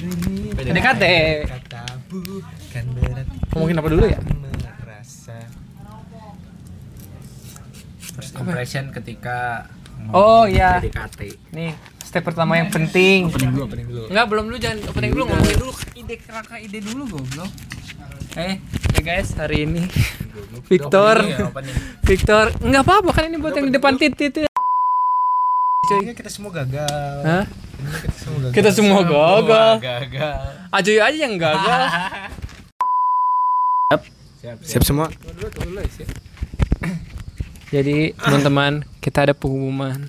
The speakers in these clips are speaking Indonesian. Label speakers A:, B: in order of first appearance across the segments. A: Ini
B: PDKT.
A: Kata bukan berarti
B: Ngomongin apa dulu ya?
A: Merasa
C: First impression ketika
B: Oh iya.
C: PDKT.
B: Nih, step pertama yang penting.
A: dulu opening dulu.
D: Enggak, belum dulu jangan opening dulu, ngomongin dulu ide kerangka ide dulu goblok.
B: Eh, ya guys, hari ini Victor
A: iya,
C: Opening ya, opening.
B: Victor nggak apa-apa kan ini buat yang di depan titit itu. ya.
A: Kayaknya kita semua gagal.
B: Hah?
A: Kayaknya Kita semua gagal.
B: Kita semua
C: Wah,
B: gagal.
C: Gagal.
B: Ajoy aja yang gagal.
C: Siap, siap.
A: siap semua.
B: Jadi, teman-teman, kita ada pengumuman.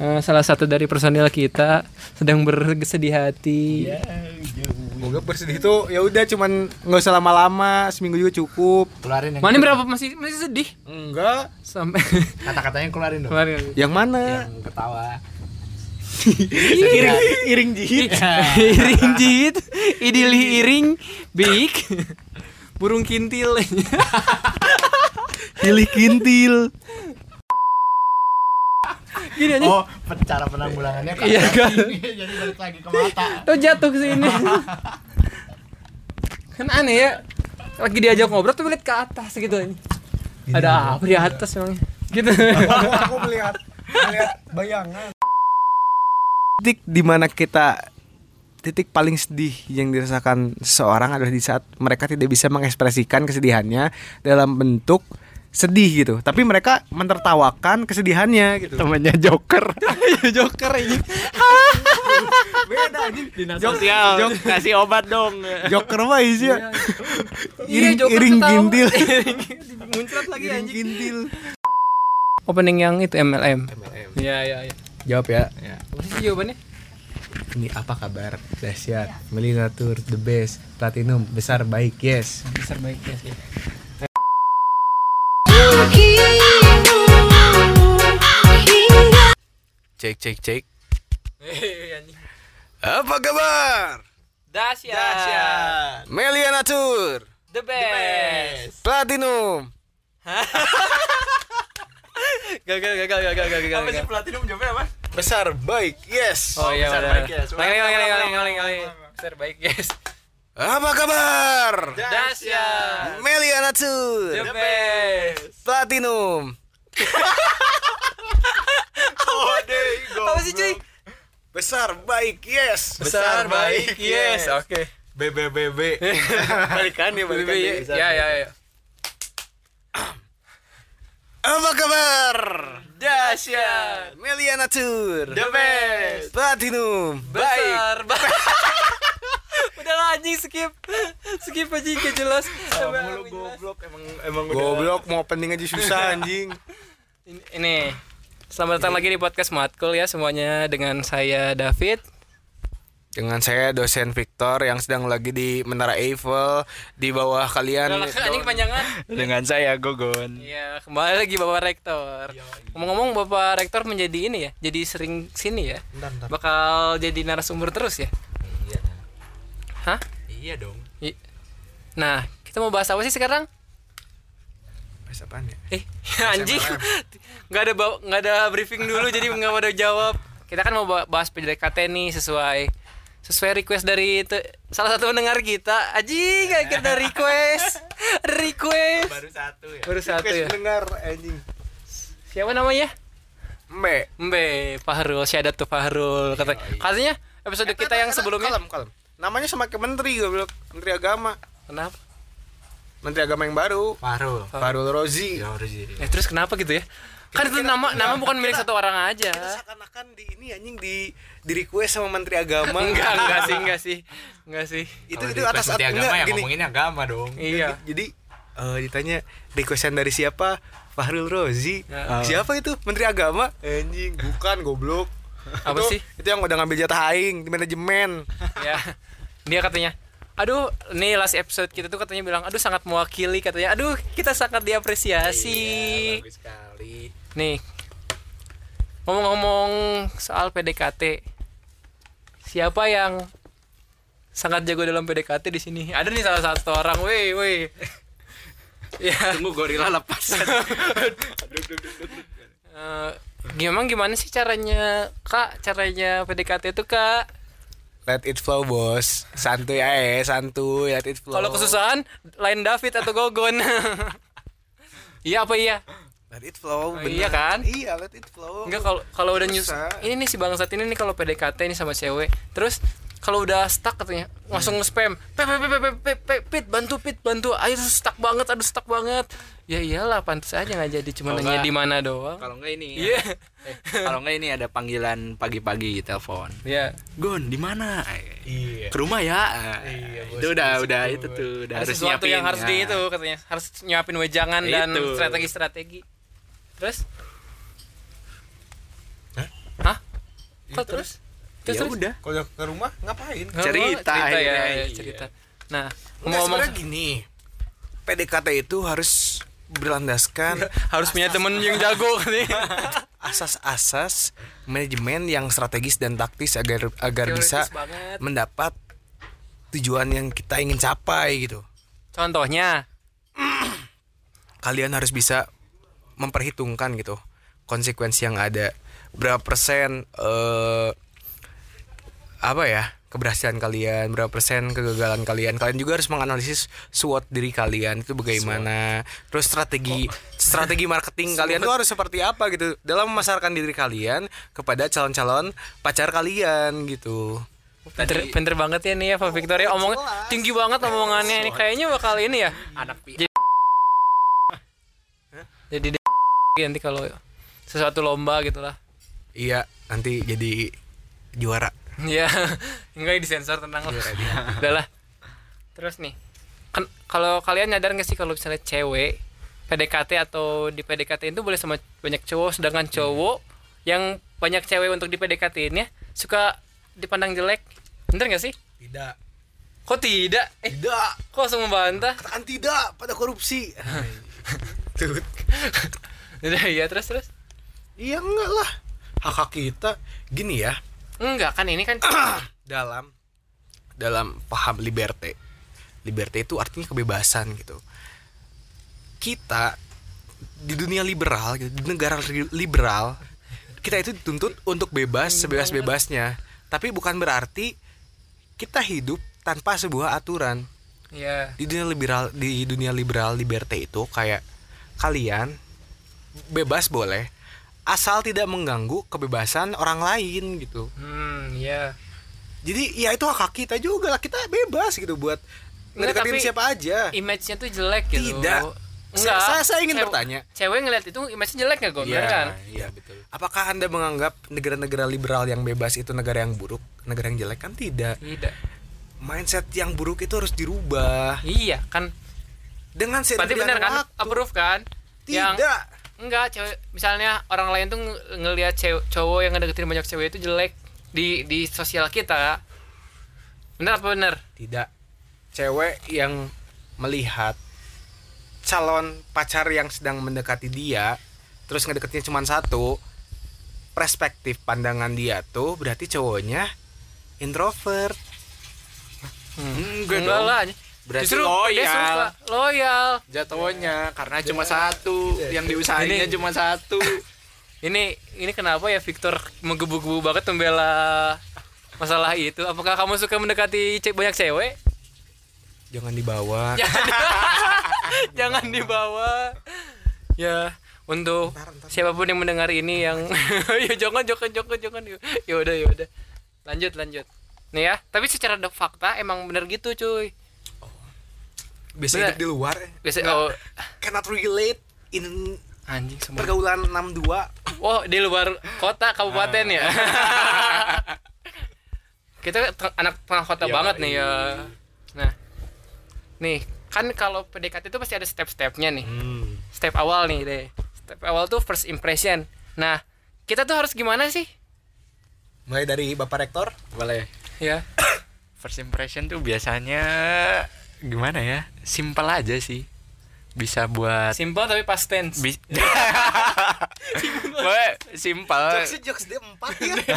B: Eh, salah satu dari personil kita sedang bersedih hati.
A: Moga bersedih itu ya udah cuman nggak usah lama-lama, seminggu juga cukup.
C: Keluarin yang
B: Mana berapa masih masih sedih
A: Enggak.
B: sampai
C: kata-katanya keluarin dong.
B: kemarin.
A: Yang mana?
C: Yang ketawa.
B: Iya.
A: Iring jihit.
B: iring jit, idili Iya. iring, big, burung kintil.
A: Pilih kintil.
B: Gini aja.
C: Oh, pe- cara penanggulangannya kan.
B: Iya, kan?
C: Jadi balik lagi ke mata.
B: Tuh jatuh ke sini. kan aneh ya. Lagi diajak ngobrol tuh lihat ke atas gitu. Ada apa di atas emang? Gitu.
A: aku melihat melihat bayangan. Titik di mana kita titik paling sedih yang dirasakan seorang adalah di saat mereka tidak bisa mengekspresikan kesedihannya dalam bentuk sedih gitu, tapi mereka menertawakan kesedihannya gitu.
B: Temannya Joker. Joker ini.
A: iya. Beda anjing.
B: Dinas
A: Jok-
B: sosial.
A: jok-
B: Kasih obat dong.
A: Joker mah isinya. Iring,
B: Iya, Joker
A: iring
B: ketawa.
A: gintil.
B: Muncrat lagi
A: iring
B: anjing.
A: gintil.
B: Opening yang itu MLM. Iya, iya, iya.
A: Jawab ya.
B: Apa sih jawabannya?
A: Ini apa kabar? Dahsyat. Melinatur the best. Platinum besar baik. Yes.
B: Besar baiknya sih.
A: Cek cek cek.
B: Iya,
A: Apa kabar?
B: Dasya.
A: Melinatur
B: The best.
A: platinum.
B: Gagal, gagal, gagal, gagal, gagal. Apa
C: platinum jawabnya apa?
A: Besar baik. Yes.
B: Oh iya,
C: besar
B: udah.
C: baik, yes.
B: Ulang, ulang, ulang, ulang, ulang, ulang. Besar baik, guys.
A: Apa kabar?
B: Dasya. The
A: Melinatur
B: best.
A: platinum.
B: Apa sih, cuy?
A: Besar baik. Yes.
B: Besar baik, yes. Kan Oke.
A: BBBB. balikan ya, balikan ya.
B: Lebih ya, ya, ya.
A: Apa kabar?
B: Dasya.
A: Meliana Tour.
B: The best.
A: Platinum.
B: Besar baik. Udah lah, anjing skip. Skip aja gak jelas. Coba ambil jelas.
A: emang emang Goblok mau opening aja susah anjing.
B: Ini- Ini. Selamat datang lagi di podcast Matkul ya semuanya dengan saya David.
A: Dengan saya dosen Victor yang sedang lagi di Menara Eiffel di bawah
B: Udah
A: kalian.
B: lah, anjing kepanjangan.
C: Dengan saya Gogon.
B: Iya, kembali lagi Bapak Rektor. Ngomong-ngomong Bapak Rektor menjadi ini ya, jadi sering sini ya. Bakal jadi narasumber terus ya.
C: Iya.
B: Hah?
C: Iya dong.
B: I- Nah, kita mau bahas apa sih sekarang?
A: Bahasa apaan ya?
B: Eh, anjing. Nggak ada baw- nggak ada briefing dulu jadi nggak ada jawab. Kita kan mau ba- bahas PDKT nih sesuai sesuai request dari te- salah satu pendengar kita. Anjing, akhirnya request. Request.
C: Baru satu ya.
B: Baru satu ya.
A: dengar anjing.
B: Siapa namanya?
A: Mbe.
B: Mbe, Fahrul, syadat tuh Fahrul kata, Katanya episode kita yang sebelumnya
A: Kalem, kalem. Namanya sama kayak menteri goblok, menteri agama.
B: Kenapa?
A: Menteri agama yang baru.
C: Farul.
A: Farul Rozi.
C: Ya, harus jadi.
B: Eh terus kenapa gitu ya? Kan itu nama nama bukan milik satu orang aja
A: Seakan-akan di ini anjing di di request sama menteri agama.
B: Enggak, enggak sih, enggak sih Enggak sih
A: itu
C: Kalau
A: itu
C: di
A: atas
C: kelas menteri agama
A: enggak,
C: ya
A: gini.
C: ngomongin agama dong.
B: Iya
A: Jadi eh, ditanya requestan dari siapa? Fahrul Rozi. Ah.
B: Ya.
A: Siapa itu? Menteri Agama? Anjing, bukan goblok.
B: Apa
A: Itu-
B: sih?
A: Itu yang udah ngambil jatah aing di manajemen.
B: ya. Dia katanya Aduh, nih last episode kita tuh katanya bilang, aduh sangat mewakili katanya, aduh kita sangat Iya,
A: Iya,
B: diapresiasi.
C: Bagus sekali.
B: Nih, ngomong-ngomong soal PDKT, siapa yang sangat jago dalam PDKT di sini? Ada nih salah satu orang, woi, woi. ya.
C: Tunggu gorila lepas.
B: eh, gimana gimana sih caranya kak? Caranya PDKT itu kak?
A: Let it flow bos Santuy aja santuy Let it flow
B: Kalau kesusahan lain David atau Gogon. iya apa iya?
A: Let it flow
B: Oh, iya kan?
A: Iya let it flow
B: Enggak kalau kalau udah nyus
A: Susah.
B: ini nih si bangsat ini nih kalau PDKT ini sama cewek, terus kalau udah stuck katanya langsung nge-spam. Pep pep pep pep pep pep pit bantu pit bantu. Ayo stuck banget, aduh stuck banget. Ya iyalah pantas aja nggak jadi cuma
C: Kalau
B: nanya
C: nggak-
B: di mana doang.
C: Kalau enggak ini.
B: Iya.
C: eh, kalau enggak ini ada panggilan pagi-pagi telepon.
B: Iya.
C: Gon, di mana?
A: Iya
C: Ke rumah ya.
A: Iya, bos,
C: itu udah
A: bos,
C: udah
A: bos.
C: itu tuh
B: Ada
C: udah harus
B: sesuatu
C: nyiapin
B: yang harus
C: ya.
B: di itu katanya, harus nyiapin wejangan dan
C: Itu.
B: strategi-strategi. Terus?
A: Hah?
B: Hah?
A: Ya,
B: Kok terus?
C: Ya
B: Terus, terus?
C: udah.
A: Kalau ke rumah ngapain?
B: Nggak,
C: Cerita
B: cerita ya,
C: akhirnya,
B: ya,
C: iya.
B: cerita. Nah,
A: Enggak
B: ngomong-ngomong
A: sebenarnya gini PDKT itu harus berlandaskan
B: harus punya temen yang jago nih.
A: asas-asas manajemen yang strategis dan taktis agar agar bisa
B: Teoritis banget.
A: mendapat tujuan yang kita ingin capai gitu.
B: Contohnya,
A: Kalian harus bisa memperhitungkan gitu konsekuensi yang ada berapa persen eh apa ya keberhasilan kalian berapa persen kegagalan kalian kalian juga harus menganalisis SWOT diri kalian itu bagaimana terus strategi strategi marketing kalian tuh harus seperti apa gitu dalam memasarkan diri kalian kepada calon-calon pacar kalian gitu
B: pinter, pinter banget ya nih ya Pak Victoria omong tinggi banget omongannya ini kayaknya bakal ini ya
C: Anak pi.
B: jadi jadi dia nanti kalau sesuatu lomba gitu lah
A: iya nanti jadi juara
B: ya enggak disensor tenang lah udah lah terus nih kan kalau kalian nyadar nggak sih kalau misalnya cewek PDKT atau di PDKT itu boleh sama banyak cowok sedangkan
A: Hmm.
B: cowok yang banyak cewek untuk di PDKT ini suka dipandang jelek bener nggak sih
A: tidak
B: kok tidak eh
A: tidak
B: kok langsung membantah
A: katakan tidak pada korupsi tuh
B: udah ya terus terus
A: iya enggak lah hak hak kita gini ya
B: enggak kan ini kan
A: dalam dalam paham liberté liberté itu artinya kebebasan gitu kita di dunia liberal gitu, di negara ri- liberal kita itu dituntut untuk bebas sebebas bebasnya tapi bukan berarti kita hidup tanpa sebuah aturan
B: ya
A: di dunia liberal di dunia liberal liberté itu kayak kalian bebas boleh asal tidak mengganggu kebebasan orang lain gitu
B: hmm ya
A: jadi ya itu hak hak kita juga lah kita bebas gitu buat
B: Enggak,
A: ngedekatin
B: Iya, tapi- iya,
A: siapa aja
B: image-nya tuh jelek gitu
A: Eh. Tidak.
B: enggak
A: Saya- saya- saya ingin
B: Cewek-
A: bertanya.
B: cewek ngeliat itu image-nya jelek nggak gue
A: Iya,
B: kan
A: iya betul apakah anda menganggap negara-negara liberal yang bebas itu negara yang buruk negara yang jelek kan tidak
B: tidak
A: mindset yang buruk itu harus dirubah
B: iya kan
A: dengan
B: berarti
A: seiring
B: benar
A: berjalannya
B: kan
A: waktu.
B: approve kan yang
A: tidak
B: enggak cewek misalnya orang lain tuh ng- ngelihat cewek cowok yang ngedeketin banyak cewek itu jelek di di sosial kita benar apa benar
A: tidak cewek yang melihat calon pacar yang sedang mendekati dia terus ngedeketnya cuma satu perspektif pandangan dia tuh berarti cowoknya introvert
C: Hmm. Enggak
B: enggak
C: dong.
B: lah
C: Berarti
B: Justru dia
C: loyal.
B: suka loyal
C: Jatuhnya karena cuma satu, yang diusahainnya
B: Ini-
C: cuma satu.
B: Ini ini kenapa ya Victor menggebu-gebu banget membela masalah itu? Apakah kamu suka mendekati ce- banyak cewek?
A: jangan dibawa
C: Ya.
B: Jangan dibawa. Ya, untuk siapapun yang mendengar ini yang ya jangan jangan jangan jangan ya udah ya udah. Lanjut lanjut. Nih ya, tapi secara de fakta emang bener gitu, cuy.
A: bisa
B: Bener.
A: hidup di luar
B: Biasa oh,
A: cannot relate in
B: anjing semua.
A: pergaulan 62
B: Oh, di luar kota kabupaten ya. Kita te- anak tengah kota banget nih ya. Nah. Nih, kan kalau PDKT itu pasti ada step-stepnya nih. Step awal nih deh. Step awal tuh first impression. Nah, kita tuh harus gimana sih?
A: mulai dari bapak rektor
C: Boleh.
B: Ya.
C: First impression tuh biasanya gimana ya? Simpel aja sih. Bisa buat
B: Simple tapi past tense.
C: Bis- Boleh, simpel.
A: jokes dia empat ya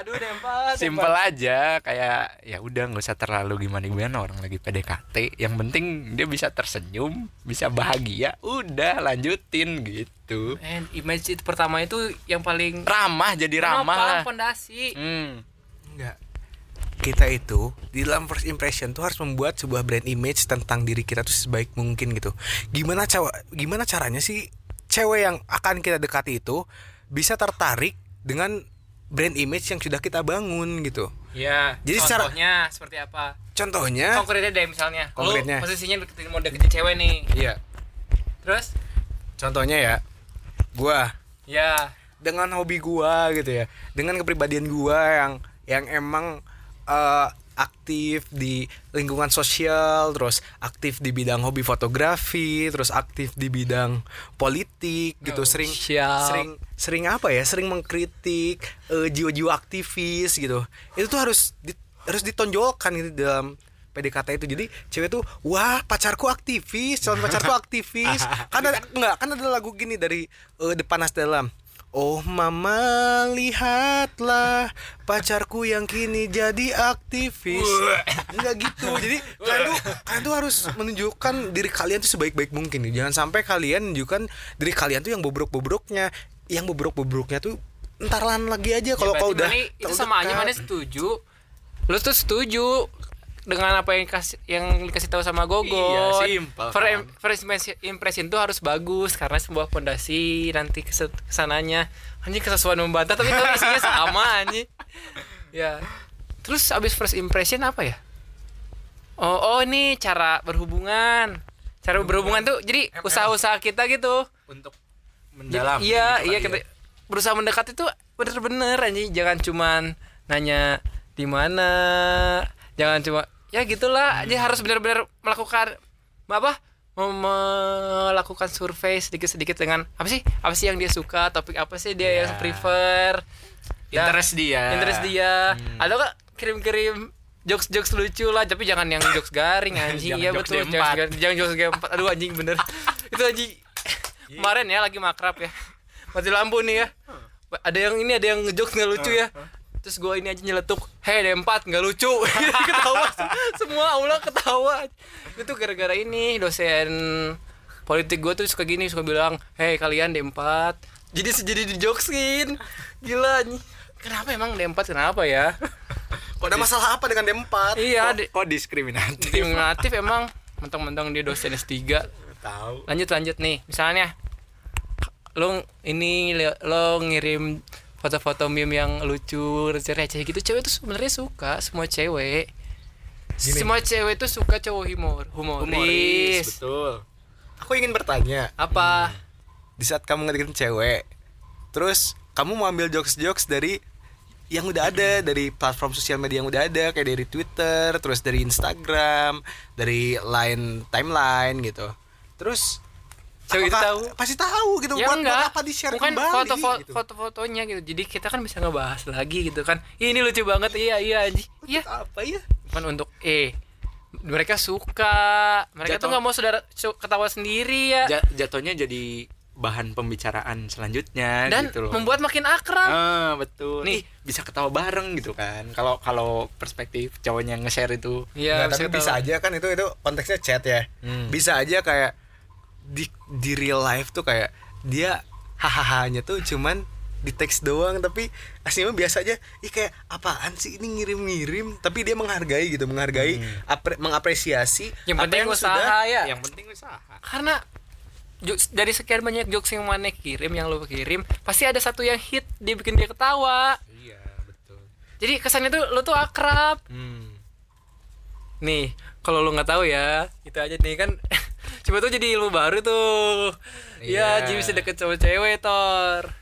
B: Aduh, dempat.
C: Simpel aja kayak ya udah nggak usah terlalu gimana gimana orang lagi PDKT. Yang penting dia bisa tersenyum, bisa bahagia. Udah lanjutin gitu.
B: And image itu pertama itu yang paling
C: Ramah jadi ramah lah.
B: pondasi.
C: Hmm.
A: enggak kita itu di dalam first impression tuh harus membuat sebuah brand image tentang diri kita tuh sebaik mungkin gitu. Gimana cara gimana caranya sih cewek yang akan kita dekati itu bisa tertarik dengan brand image yang sudah kita bangun gitu.
B: Iya.
A: Jadi secara-
B: contohnya seperti apa?
A: Contohnya
B: Konkretnya deh misalnya.
A: Konkretnya.
B: Lu posisinya deketin mau deketin cewek nih.
A: iya,
B: Terus?
A: contohnya ya gua
B: Ya.
A: dengan hobi gua gitu ya dengan kepribadian gua yang yang emang eh, aktif di lingkungan sosial terus aktif di bidang hobi fotografi terus aktif di bidang politik gitu sering
B: siap.
A: sering sering apa ya sering mengkritik eh, jiwa-jiwa aktivis gitu itu tuh harus di- harus ditonjolkan gitu dalam PDKT itu jadi cewek tuh wah pacarku aktivis calon pacarku aktivis kan ada enggak kan ada lagu gini dari eh, depan nas dalam Oh mama lihatlah pacarku yang kini jadi aktivis Enggak gitu Jadi kalian tuh, kalian tuh harus menunjukkan diri kalian tuh sebaik-baik mungkin Jangan sampai kalian menunjukkan diri kalian tuh yang bobrok-bobroknya Yang bobrok-bobroknya tuh entaran lagi aja kalau
B: Ya,
A: kau
B: berarti
A: udah
B: Mane itu
A: terlalu
B: sama aja
A: dekat.
B: mana setuju. Lu tuh setuju dengan apa yang kasih yang dikasih tahu sama Gogo.
C: Iya, simple, kan.
B: First impression, impression tuh harus bagus karena sebuah pondasi nanti keset- kesananya. Anjing kesesuaian membantah tapi tapi isinya sama anjing. Ya. Terus abis first impression apa ya? Oh, oh ini cara berhubungan. Cara berhubungan tuh jadi usaha-usaha kita gitu.
C: untuk mendalam
B: Iya,
C: gitu
B: iya
C: kali
B: kita
C: ya.
B: berusaha mendekat itu bener-bener anjing jangan cuman nanya di mana, jangan cuma ya gitulah, jadi harus bener-bener melakukan apa? Mem- melakukan survei sedikit-sedikit dengan apa sih? Apa sih yang dia suka, topik apa sih dia yang
C: Ya.
B: prefer? Dan-
C: interest dia
B: interest dia. Atau nggak kirim-kirim jokes-jokes lucu lah, tapi jangan yang jokes garing anjing.
C: Jangan
B: Iya
C: jokes
B: betul,
C: D4.
B: jangan jokes- jangan jokes game 4. Aduh anjing bener. Itu anjing.
C: Iya.
B: Kemarin ya lagi makrab ya. Mati lampu nih ya. Ada yang ini ada yang ngejokes nggak lucu ya. Terus gua ini aja nyeletuk, hei D4 nggak lucu Ketawa, semua aula ketawa Itu gara-gara ini dosen politik gua tuh suka gini, suka bilang Hei kalian D4 Jadi jadi dijoksin Gila anjing. Kenapa emang D4 kenapa ya?
A: Kok ada masalah apa dengan D4?
B: Iya, di-
C: kok diskriminatif
B: diskriminatif emang mentang-mentang dia dosen S3.
C: tahu
B: Lanjut lanjut nih. Misalnya lo ini li- lo ngirim foto-foto meme yang lucu, receh-receh gitu. Cewek tuh sebenarnya suka semua cewek. Semua cewek tuh suka cowok humor, humoris.
C: betul
A: Aku ingin bertanya
B: Apa?
A: Di saat kamu ngedeketin cewek Terus kamu mau ambil jokes-jokes dari yang udah ada dari platform sosial media yang udah ada kayak dari Twitter, terus dari Instagram, dari line timeline gitu. Terus
B: Cewek itu
A: apakah-
B: tahu?
A: pasti tahu gitu
B: ya
A: buat, buat
B: enggak
A: apa di share
B: bukan
A: kembali
B: foto, foto
A: gitu.
B: foto-fotonya gitu jadi kita kan bisa ngebahas lagi gitu kan "Ih, ini lucu banget iya iya anjing iya
A: Apa ya?
B: cuman untuk eh mereka suka mereka tuh
C: Jatuh.
B: nggak mau saudara su- ketawa sendiri ya
C: Ja- jatuhnya jadi bahan pembicaraan selanjutnya
B: dan
C: gitu loh
B: membuat makin akrab
C: ah betul
B: Nih.
C: nih bisa ketawa bareng gitu kan kalau kalau perspektif cowoknya nge-share itu
B: Iya, Hmm.
A: Nggak, tapi bisa
B: ketawa.
A: aja kan itu itu konteksnya chat ya. Bisa aja kayak di di real life tuh kayak dia hahahanya tuh cuman di teks doang tapi aslinya mah biasa aja ih kayak apaan sih ini ngirim-ngirim tapi dia menghargai gitu menghargai apre- mengapresiasi
B: Hmm. yang
A: apa
B: penting usaha ya
C: yang Iya. penting usaha
B: karena jokes- dari sekian banyak jokes yang mana kirim yang lo kirim pasti ada satu yang hit dia bikin dia ketawa
C: iya betul
B: jadi kesannya tuh lo tuh akrab
C: hmm.
B: Nih, kalau lu nggak tahu ya, itu aja nih kan. Coba tuh jadi ilmu baru tuh. Iya,
C: Iya.
B: jadi bisa deket sama cewek, Tor.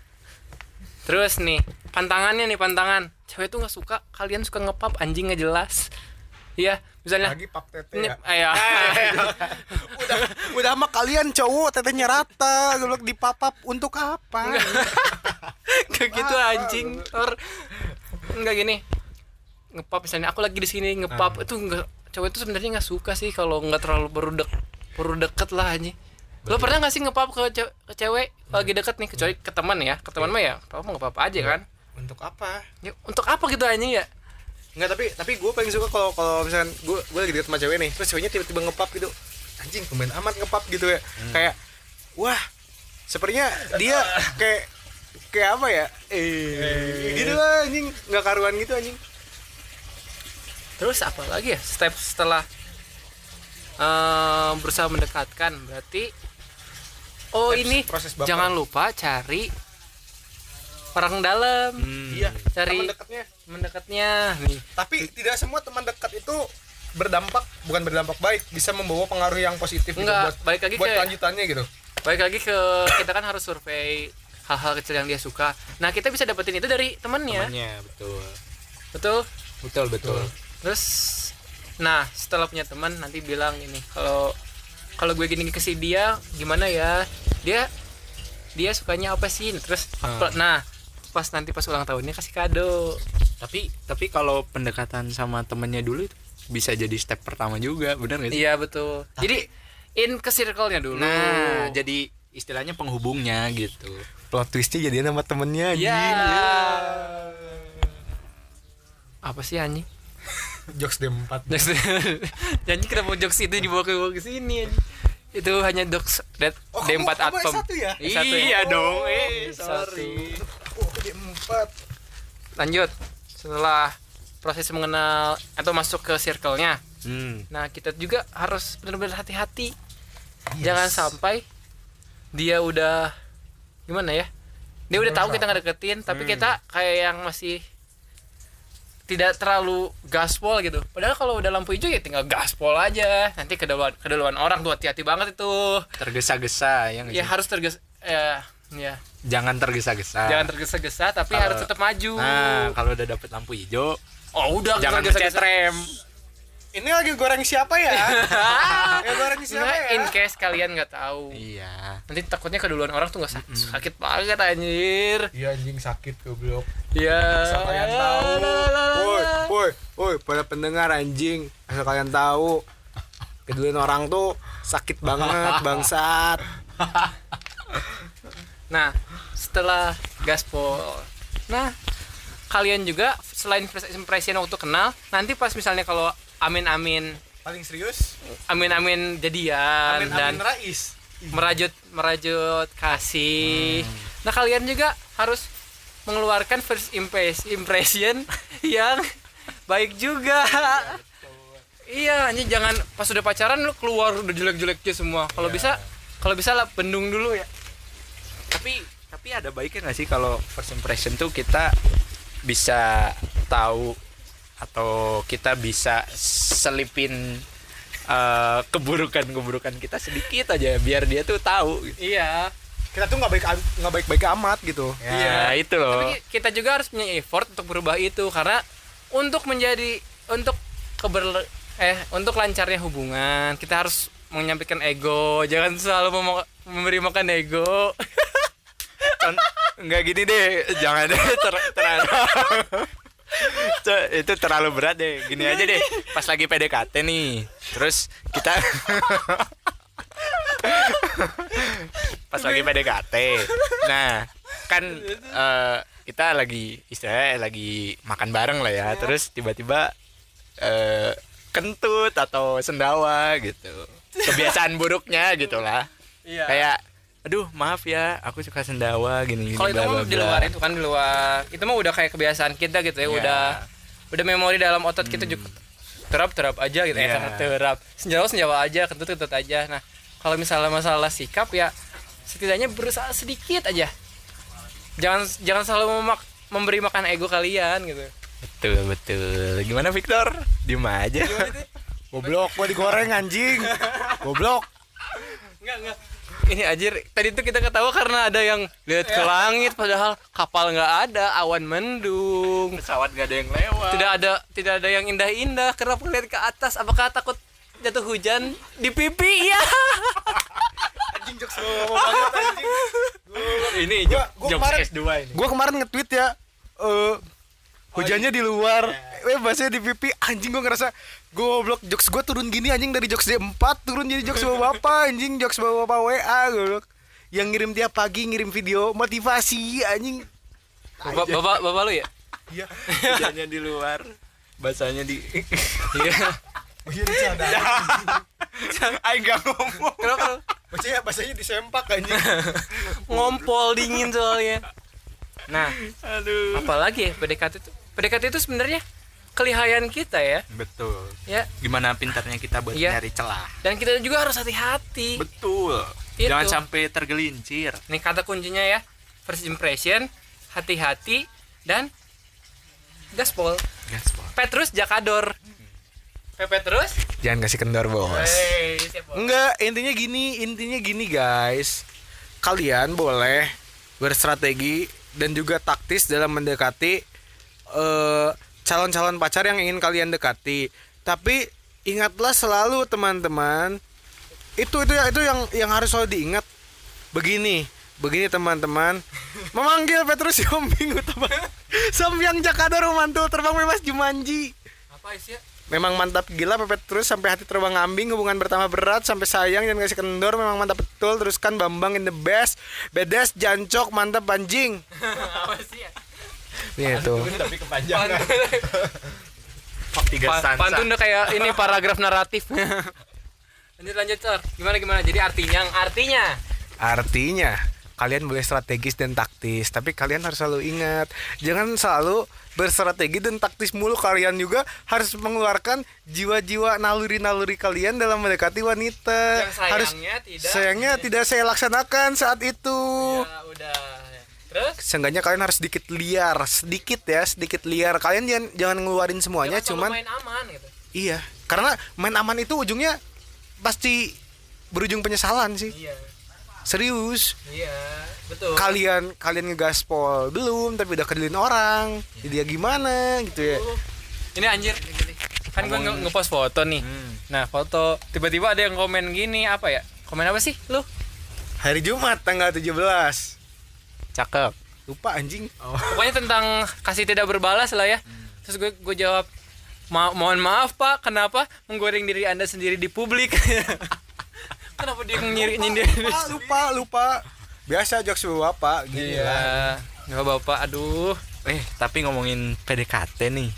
B: Terus nih, pantangannya nih, pantangan. Cewek tuh nggak suka, kalian suka ngepap anjing nggak jelas. Iya, misalnya Iya.
A: lagi pap tete
B: Ini-
A: ya.
B: Ayah.
A: udah sama kalian cowok tetenya rata gue bilang dipapap untuk apa
B: Kayak gitu anjing, Tor. Enggak gini. Ngepap misalnya aku lagi di sini ngepap
A: Ah.
B: itu enggak cewek itu sebenarnya nggak suka sih kalau nggak terlalu baru dek baru deket lah anjing. Lo pernah nggak sih ngepap ke, ce- ke cewek lagi
A: Hmm.
B: deket nih kecuali ke teman ya, ke
A: Iya.
B: teman mah ya, apa mau ngepap aja kan?
A: untuk apa
B: Ya, untuk apa gitu anjing ya?
A: Enggak tapi tapi gue paling suka kalau kalau misalkan gue gue lagi deket sama cewek nih terus ceweknya tiba-tiba ngepap gitu anjing pemain amat ngepap gitu ya kayak wah sepertinya dia kayak kayak apa ya eh gitu lah anjing nggak karuan gitu anjing
B: terus apa lagi ya step setelah eh, berusaha mendekatkan berarti oh
A: Steps
B: ini
A: proses baper.
B: jangan lupa cari orang dalam
A: Iya,
B: Cari-
A: teman dekatnya.
B: mendekatnya nih
A: Tapi tidak semua teman dekat itu berdampak bukan berdampak baik bisa membawa pengaruh yang positif gitu buat
B: Enggak, balik lagi
A: buat
B: ke-
A: lanjutannya gitu
B: baik lagi ke kita kan harus survei hal-hal kecil yang dia suka nah kita bisa dapetin itu dari temennya
C: Temennya, betul
B: betul
C: Iya. betul betul
B: terus nah setelah punya teman nanti bilang ini kalau kalau gue gini kasih dia gimana ya dia dia sukanya apa sih terus
C: Ah.
B: apa- nah pas nanti pas ulang tahunnya kasih kado
C: tapi tapi kalau pendekatan sama temennya dulu itu bisa jadi step pertama juga benar nggak sih
B: iya betul jadi in ke circle-nya dulu
C: nah jadi istilahnya penghubungnya gitu
A: plot twistnya jadi nama temennya
B: ya apa sih anjing
A: jokes D4
B: Jokes Janji kenapa jokes itu dibawa ke ke sini anjing. Itu hanya jokes that
A: Oh,
B: D4
A: kamu- kamu
B: Atom.
A: S1 ya?
B: S1 ya?
C: Iya dong, eh,
B: S1.
C: sorry.
A: oh D4
B: Lanjut. Setelah proses mengenal atau masuk ke circle-nya.
C: hmm.
B: Nah, kita juga harus benar-benar hati-hati. Jangan sampai dia udah gimana ya? Dia udah tahu kita nggak deketin, tapi kita kayak yang masih tidak terlalu gaspol gitu. Padahal kalau udah lampu hijau ya tinggal gaspol aja. Nanti keduluan keduluan orang tuh hati-hati banget itu.
C: tergesa-gesa ya, nggak
B: Ya
C: sih?
B: harus terges ya, ya.
C: jangan tergesa-gesa
B: Jangan tergesa-gesa tapi
C: Kalau-
B: harus tetap maju.
C: nah kalau udah dapet lampu hijau
B: oh, udah
C: jangan
B: tergesa-gesa.
C: kecetrem
A: ini lagi goreng siapa ya ya goreng siapa
B: Nah,
A: ya
B: in case kalian nggak tahu.
C: iya
B: Nanti takutnya keduluan orang tuh nggak sakit, sakit banget anjir.
A: iya anjing sakit goblok
B: Ya.
A: asal kalian tahu woi woi woi pada pendengar anjing asal kalian tahu keduluan orang tuh sakit banget bangsat
B: Nah, setelah gaspol. Nah, kalian juga selain first impression waktu kenal, nanti pas misalnya kalau amin-amin
A: paling serius
B: amin-amin jadian dan
A: Rais
B: merajut merajut kasih. Nah, kalian juga harus mengeluarkan first impres- impression yang baik juga. Iya, ini jangan pas udah pacaran lu keluar udah jelek-jeleknya semua. Kalau bisa kalau bisa lah bendung dulu ya.
C: tapi tapi ada baiknya nggak sih kalau first impression tuh kita bisa tahu atau kita bisa selipin eh, keburukan-keburukan kita sedikit aja biar dia tuh tahu gitu.
B: Iya.
A: kita tuh nggak baik nggak baik baik amat gitu
C: Ya, itu loh.
B: Tapi kita juga harus punya effort untuk berubah itu karena untuk menjadi untuk keber eh untuk lancarnya hubungan kita harus menyampaikan ego jangan selalu memo- memberi makan ego
C: Con- nggak gini deh, jangan deh ter- terlalu. Co- itu terlalu berat deh. Gini aja deh. Pas lagi PDKT nih. Terus kita Pas lagi PDKT. Nah, kan eh, kita lagi istilahnya lagi makan bareng lah ya. Terus tiba-tiba eh, kentut atau sendawa gitu. Kebiasaan buruknya gitu lah.
B: Iya.
C: Kayak aduh maaf ya aku suka sendawa gini gini
B: kalau itu
C: bla,
B: mah
C: bla,
B: di
C: bla."
B: luar itu kan di luar itu mah udah kayak kebiasaan kita gitu ya
C: Iya. Hmm.
B: udah udah memori dalam otot kita juga terap terap aja gitu
C: Iya.
B: ya terap senjawa senjawa aja kentut kentut aja nah kalau misalnya masalah sikap ya setidaknya berusaha sedikit aja jangan jangan selalu memak- memberi makan ego kalian gitu
C: betul betul gimana Victor diem aja
A: goblok gua digoreng anjing goblok
B: Enggak, enggak. Ini ajir, tadi tuh kita ketawa karena ada yang lihat ke langit padahal kapal nggak ada, awan mendung.
C: pesawat gak ada yang lewat
B: Tidak ada tidak ada yang indah-indah. Kenapa lihat ke atas? Apakah takut jatuh hujan di pipi? Ya.
A: anjing jokes lu ngomong banget anjing
C: ini
A: Gua- gua kemarin-
C: S2 ini
A: gue kemarin nge-tweet ya eh hujannya di luar eh bahasanya di pipi anjing gue ngerasa goblok jokes gue turun gini anjing dari jokes D4 turun jadi jokes bapak bapak anjing jokes bapak bapak WA goblok yang ngirim tiap pagi ngirim video motivasi anjing
B: Bapak, bapak, bapak lu ya?
A: iya
C: hujannya di luar bahasanya di
B: Iya.
A: iya dicadang
C: Ayo gak ngomong
B: Kenapa lu?
A: maksudnya bahasanya disempak anjing
B: Ngompol dingin soalnya. Nah,
C: aduh
B: apalagi ya PDKT itu? PDKT itu sebenarnya kelihaian kita ya
C: Betul.
B: ya
C: Gimana pintarnya kita buat
B: Iya.
C: nyari celah.
B: dan kita juga harus hati-hati
C: Betul.
B: Itu.
C: Jangan sampai tergelincir.
B: nih kata kuncinya ya first impression hati-hati dan gaspol
C: Gaspol.
B: Petrus Jakador Pepe terus
A: Jangan kasih kendor, Bos.
B: Hey, siap, Bos.
A: Enggak, intinya gini, intinya gini guys. Kalian boleh berstrategi dan juga taktis dalam mendekati eh, calon-calon pacar yang ingin kalian dekati. Tapi ingatlah selalu teman-teman, itu itu itu yang yang harus selalu diingat. Begini, begini teman-teman. Memanggil Petrus Yombing Utama. Samyang Jakarta Romanto terbang bebas Jumanji.
B: apa sih ya?
A: Memang mantap gila pepet terus sampai hati terbang ambing hubungan pertama berat sampai sayang jangan kasih kendor memang mantap betul teruskan Bambang in the best bedes jancok mantap anjing
B: apa sih ya?
A: Nih Iya, itu
C: Tapi kepanjangan.
B: Pantun,
C: Tiga
B: pa-
C: stanza.
B: pantun udah kayak ini paragraf naratif. lanjut lanjut Sor. Gimana gimana? Jadi artinya artinya
A: artinya kalian boleh strategis dan taktis tapi kalian harus selalu ingat jangan selalu berstrategi dan taktis mulu kalian juga harus mengeluarkan jiwa-jiwa naluri-naluri kalian dalam mendekati wanita
B: yang
A: harus
B: sayangnya tidak.
A: sayangnya tidak saya laksanakan saat itu
B: Ya, udah. Terus
A: seenggaknya kalian harus sedikit liar sedikit ya sedikit liar kalian jangan jangan ngeluarin semuanya
B: jangan
A: cuman
B: selalu main aman gitu.
A: iya karena main aman itu ujungnya pasti berujung penyesalan sih
B: Iya.
A: serius
B: Iya, betul.
A: kalian kalian ngegaspol belum tapi udah kedelin orang jadi ya gimana gitu ya
B: ini anjir. Kan gue nge- ngepost foto nih. Nah, foto tiba-tiba ada yang komen gini apa ya? Komen apa sih lu?
A: hari Jumat tanggal 17
B: Cakep.
A: lupa anjing
B: pokoknya tentang kasih tidak berbalas lah ya terus gue gue jawab "Ma- mohon maaf pak kenapa menggoreng diri anda sendiri di publik kenapa dia nyiri nyindir
A: lupa lupa, lupa. biasa jokes bapak gitu ya. gini lah
B: iya nggak bapak aduh
C: Eh, tapi ngomongin PDKT nih.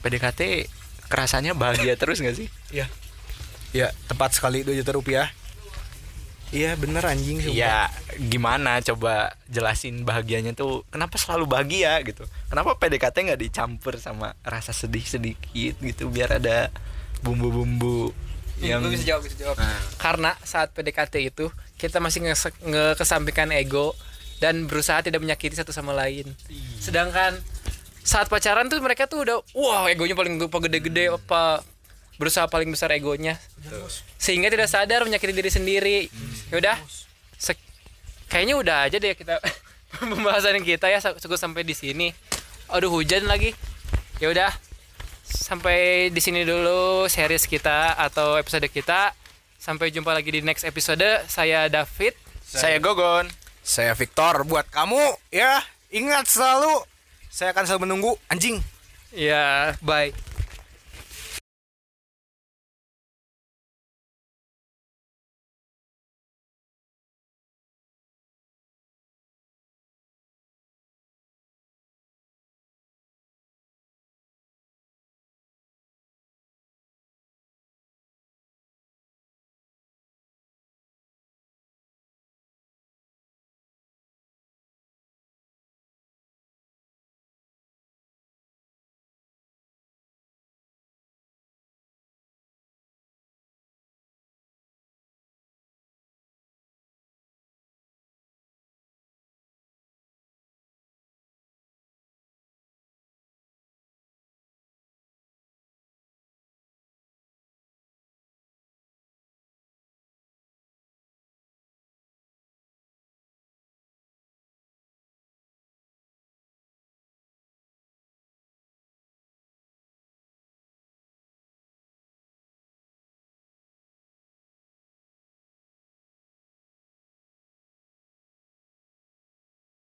C: PDKT kerasanya bahagia terus gak sih?
A: ya tepat sekali 2 juta rupiah iya bener anjing sumpah.
C: Iya, gimana coba jelasin bahagianya tuh kenapa selalu bahagia gitu? Kenapa PDKT nggak dicampur sama rasa sedih sedikit gitu biar ada bumbu-bumbu yang
B: gue Iya, bisa jawab bisa jawab karena saat PDKT itu kita masih nges- ngekesampingkan ego dan berusaha tidak menyakiti satu sama lain sedangkan saat pacaran tuh mereka tuh udah wow egonya paling apa gede-gede apa berusaha paling besar egonya sehingga tidak sadar menyakiti diri sendiri yaudah sek- kayaknya udah aja deh kita pembahasan kita ya sa- cukup sampai di sini aduh hujan lagi Ya yaudah sampai di sini dulu series kita atau episode kita sampai jumpa lagi di next episode saya David
C: Saya Gogon.
A: Saya Victor buat kamu ya ingat selalu saya akan selalu menunggu anjing.
B: ya bye